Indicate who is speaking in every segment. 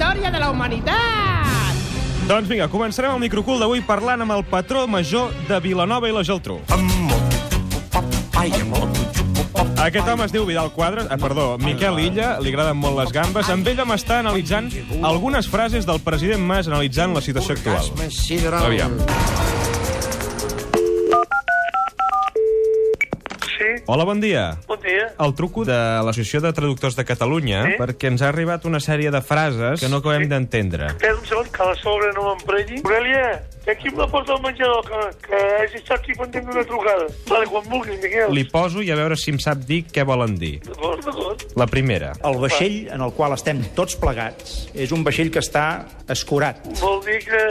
Speaker 1: Doncs
Speaker 2: la humanitat!
Speaker 1: Doncs vinga, començarem el microcul d'avui parlant amb el patró major de Vilanova i la Geltrú. Aquest home es diu Vidal Quadres, ah, perdó, Miquel Illa, li agraden molt les gambes. Amb ell home està analitzant algunes frases del president Mas analitzant la situació actual. Aviam.
Speaker 3: Sí,
Speaker 1: Hola, bon dia.
Speaker 3: bon dia.
Speaker 1: El truco de l'Associació de Traductors de Catalunya
Speaker 3: Sí?
Speaker 1: perquè ens ha arribat una sèrie de frases Eh? que no acabem d'entendre.
Speaker 3: Espera un segon, que a la sobre no m'emprenyi. Aurelia, que aquí em la porta al menjador, que, que has estat aquí pendent d'una trucada. Vale, quan vulguis, Miquel.
Speaker 1: Li poso i a veure si em sap dir què volen dir.
Speaker 3: D'acord, d'acord.
Speaker 1: La primera.
Speaker 4: El vaixell en el qual estem tots plegats és un vaixell que està escurat.
Speaker 3: Vol dir que,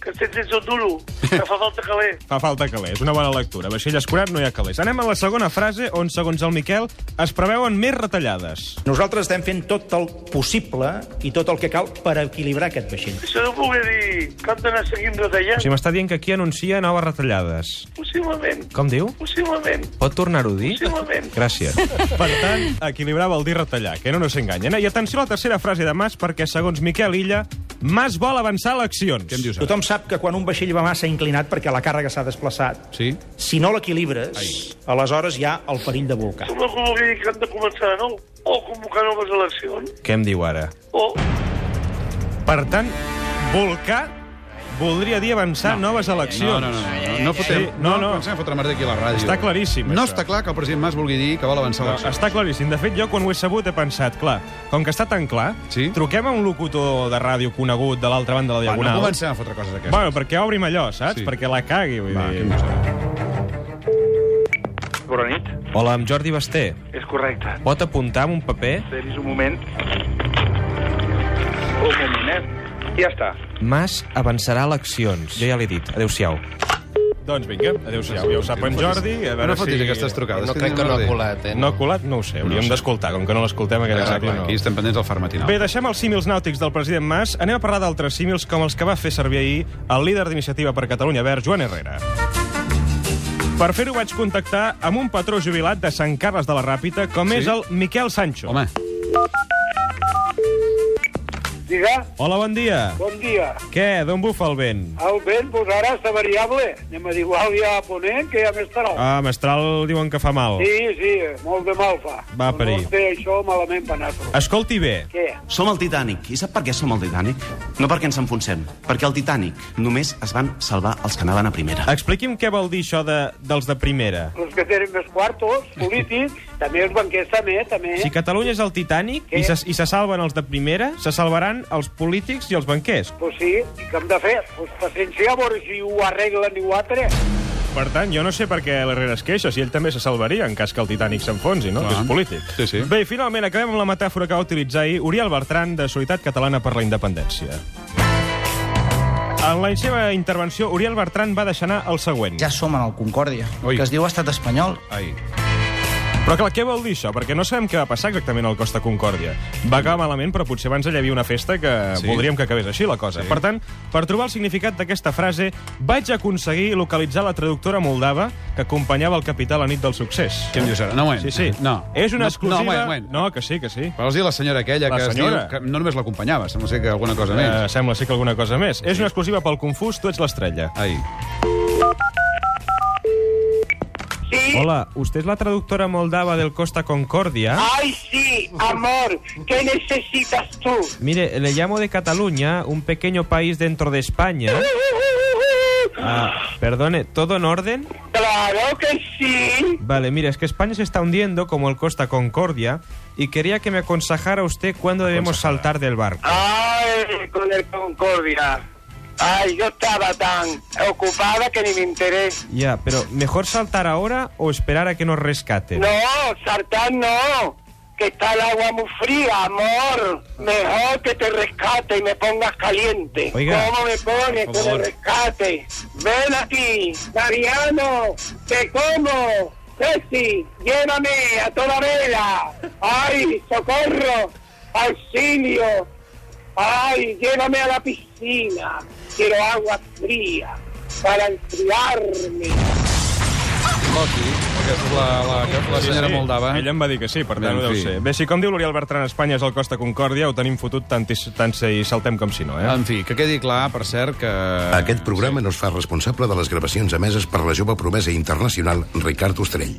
Speaker 3: que tens sense un duro, que fa falta caler.
Speaker 1: Fa falta calés, una bona lectura. Vaixell escurat, no hi ha calés. Anem a la segona frase, on, segons el Miquel, es preveuen més retallades.
Speaker 4: Nosaltres estem fent tot el possible i tot el que cal per equilibrar aquest vaixell.
Speaker 3: Això no volia dir que han d'anar seguint
Speaker 1: O
Speaker 3: retallant.
Speaker 1: sigui, m'està dient que aquí anuncia noves retallades.
Speaker 3: Possiblement,
Speaker 1: Com diu?
Speaker 3: possiblement,
Speaker 1: Pot tornar-ho a dir?
Speaker 3: possiblement.
Speaker 1: Gràcies. Per tant, equilibrar vol dir retallar, que no no s'enganyen. eh? I atenció a la tercera frase de Mas, perquè, segons Miquel Illa, Mas vol avançar eleccions. Què em dius?
Speaker 4: Tothom sap que quan un vaixell va massa inclinat perquè la càrrega s'ha desplaçat,
Speaker 5: Sí?
Speaker 4: si no l'equilibres, aleshores hi ha el perill de volcar.
Speaker 3: Tu no volia dir que han de començar de nou, o convocar noves eleccions,
Speaker 1: Què em diu ara?
Speaker 3: o...
Speaker 1: Per tant, volcar voldria dir avançar no. noves eleccions.
Speaker 5: No, no, no. No, no, fotem,
Speaker 1: Sí, no, no.
Speaker 5: Comencem a fotre merda aquí a la ràdio.
Speaker 1: Està claríssim,
Speaker 5: No
Speaker 1: això.
Speaker 5: està clar que el president Mas vulgui dir que vol avançar
Speaker 1: No,
Speaker 5: l'elecció.
Speaker 1: està claríssim. De fet, jo quan ho he sabut he pensat, clar, com que està tan clar,
Speaker 5: Sí.
Speaker 1: truquem a un locutor de ràdio conegut de l'altra banda de la
Speaker 5: Va, no
Speaker 1: Diagonal.
Speaker 5: comencem a fotre coses d'aquestes.
Speaker 1: Bueno, perquè obrim allò, saps?
Speaker 5: Sí.
Speaker 1: Perquè la cagui, vull
Speaker 5: Va, què em
Speaker 1: dir.
Speaker 5: dius ara?
Speaker 6: Bona nit.
Speaker 1: Hola, amb Jordi Basté.
Speaker 6: És correcte.
Speaker 1: Pot apuntar amb un paper?
Speaker 6: Tenis un moment. Un momentet. Ja està.
Speaker 1: Mas avançarà eleccions. Jo ja l'he dit. Adéu-siau. Doncs vinga, adéu-siau. Ja ho sap en Jordi. A veure
Speaker 5: No fotis
Speaker 1: si...
Speaker 5: aquestes trucades.
Speaker 7: No crec que no ha colat, eh?
Speaker 1: No ha colat? No ho sé. Hauríem d'escoltar, com que no l'escoltem aquest
Speaker 5: Exacte,
Speaker 1: ràdio. No.
Speaker 5: aquí estem pendents del far matinal.
Speaker 1: Bé, deixem els símils nàutics del president Mas. Anem a parlar d'altres símils com els que va fer servir ahir el líder d'Iniciativa per Catalunya Verd, Joan Herrera. Per fer-ho vaig contactar amb un patró jubilat de Sant Carles de la Ràpita, com
Speaker 5: Sí?
Speaker 1: és el Miquel Sancho.
Speaker 5: Home,
Speaker 3: Diga,
Speaker 1: Hola, bon dia.
Speaker 3: bon dia.
Speaker 1: Què? D'on bufa el vent?
Speaker 3: El vent, doncs ara està variable. Anem a dir igual ja a Ponent, que ja més tard.
Speaker 1: Ah, Mestral diuen que fa mal.
Speaker 3: Sí, sí, molt de mal fa.
Speaker 1: Va, parir. Ah.
Speaker 3: No té això malament per nosaltres.
Speaker 1: Escolti bé,
Speaker 3: Què?
Speaker 8: Som el Titanic. I sap per què som el Titanic? No perquè ens enfonsem, perquè el Titanic només es van salvar els que anaven a primera.
Speaker 1: expliqui'm què vol dir això de, dels de primera.
Speaker 3: Els que tenen més quartos, polítics, també els banquers també, també.
Speaker 1: Si Catalunya és el Titanic i se, i se salven els de primera, se salvaran els polítics i els banquers.
Speaker 3: Pues sí, i què hem de fer? Pues paciència a veure si ho arreglen i ho altre.
Speaker 1: Per tant, jo no sé per què l'Herrera es queixa, si ell també se salvaria en cas que el Titanic s'enfonsi, no?
Speaker 5: Clar.
Speaker 1: Que és polític.
Speaker 5: Sí, sí.
Speaker 1: Bé, i finalment acabem amb la metàfora que va utilitzar ahir Oriol Bertran, de Solidaritat Catalana per la Independència. En la seva intervenció, Oriol Bertran va deixar anar el següent.
Speaker 9: Ja som en el Concòrdia,
Speaker 5: Ui.
Speaker 9: que es diu estat espanyol.
Speaker 5: ai,
Speaker 1: Però clar, què vol dir això? Perquè no sabem què va passar exactament al Costa Concòrdia. Va acabar malament, però potser abans allà hi havia una festa que
Speaker 5: Sí.
Speaker 1: sí. voldríem que acabés així la cosa.
Speaker 5: Sí.
Speaker 1: Sí. Per tant, per trobar el significat d'aquesta frase, vaig aconseguir localitzar la traductora moldava que acompanyava el capità la nit del succés.
Speaker 5: què em dius ara? No, un moment.
Speaker 1: Sí, sí.
Speaker 5: No.
Speaker 1: És una
Speaker 5: No,
Speaker 1: exclusiva...
Speaker 5: No, un moment, un moment.
Speaker 1: No, que sí, que sí.
Speaker 5: Però vols dir la senyora aquella
Speaker 1: La
Speaker 5: que, es
Speaker 1: senyora.
Speaker 5: diu, que no només l'acompanyava, sembla ser que alguna cosa
Speaker 1: Eh,
Speaker 5: més.
Speaker 1: sembla ser que alguna cosa més. És una exclusiva pel Confús, tu ets l'estrella.
Speaker 5: Ai.
Speaker 3: Sí,
Speaker 1: Hola, usted es la traductora moldava del Costa Concordia.
Speaker 3: Ay, sí, amor, ¿qué necesitas tú?
Speaker 1: Mire, le llamo de Cataluña, un pequeño país dentro de España. Ah, perdone, ¿todo en orden?
Speaker 3: Claro que sí.
Speaker 1: Vale, mire, es que España se está hundiendo como el Costa Concordia y quería que me aconsejara usted cuándo debemos saltar del barco.
Speaker 3: Ay, con el Concordia. Ay, yo estaba tan ocupada que ni me enteré.
Speaker 1: Ya, pero ¿mejor saltar ahora o esperar a que nos rescaten?
Speaker 3: No, Sartán no. Que está el agua muy fría, amor. Mejor que te rescate y me pongas caliente.
Speaker 1: Oiga.
Speaker 3: ¿Cómo me pones con el
Speaker 5: Por favor.
Speaker 3: rescate? Ven aquí, Mariano. Te como. Ceci, llévame a toda vela. Ay, socorro. Auxilio. Ay, llévame a la piscina. Quiero agua fría para enfriarme.
Speaker 5: Loki, el que és la, la, la, la senyora
Speaker 1: sí.
Speaker 5: Moldava.
Speaker 1: Ella em va dir que sí, per
Speaker 5: Bé,
Speaker 1: tant,
Speaker 5: en
Speaker 1: ho deu
Speaker 5: fi.
Speaker 1: ser. Bé, si com diu l'Oriol Bertran, Espanya és el Costa Concòrdia, ho tenim fotut tant, i- tant si hi saltem com si no, eh?
Speaker 5: En fi, que quedi clar, per cert, que...
Speaker 2: Aquest programa no es fa responsable de les gravacions emeses per la jove promesa internacional Ricard Ostrell.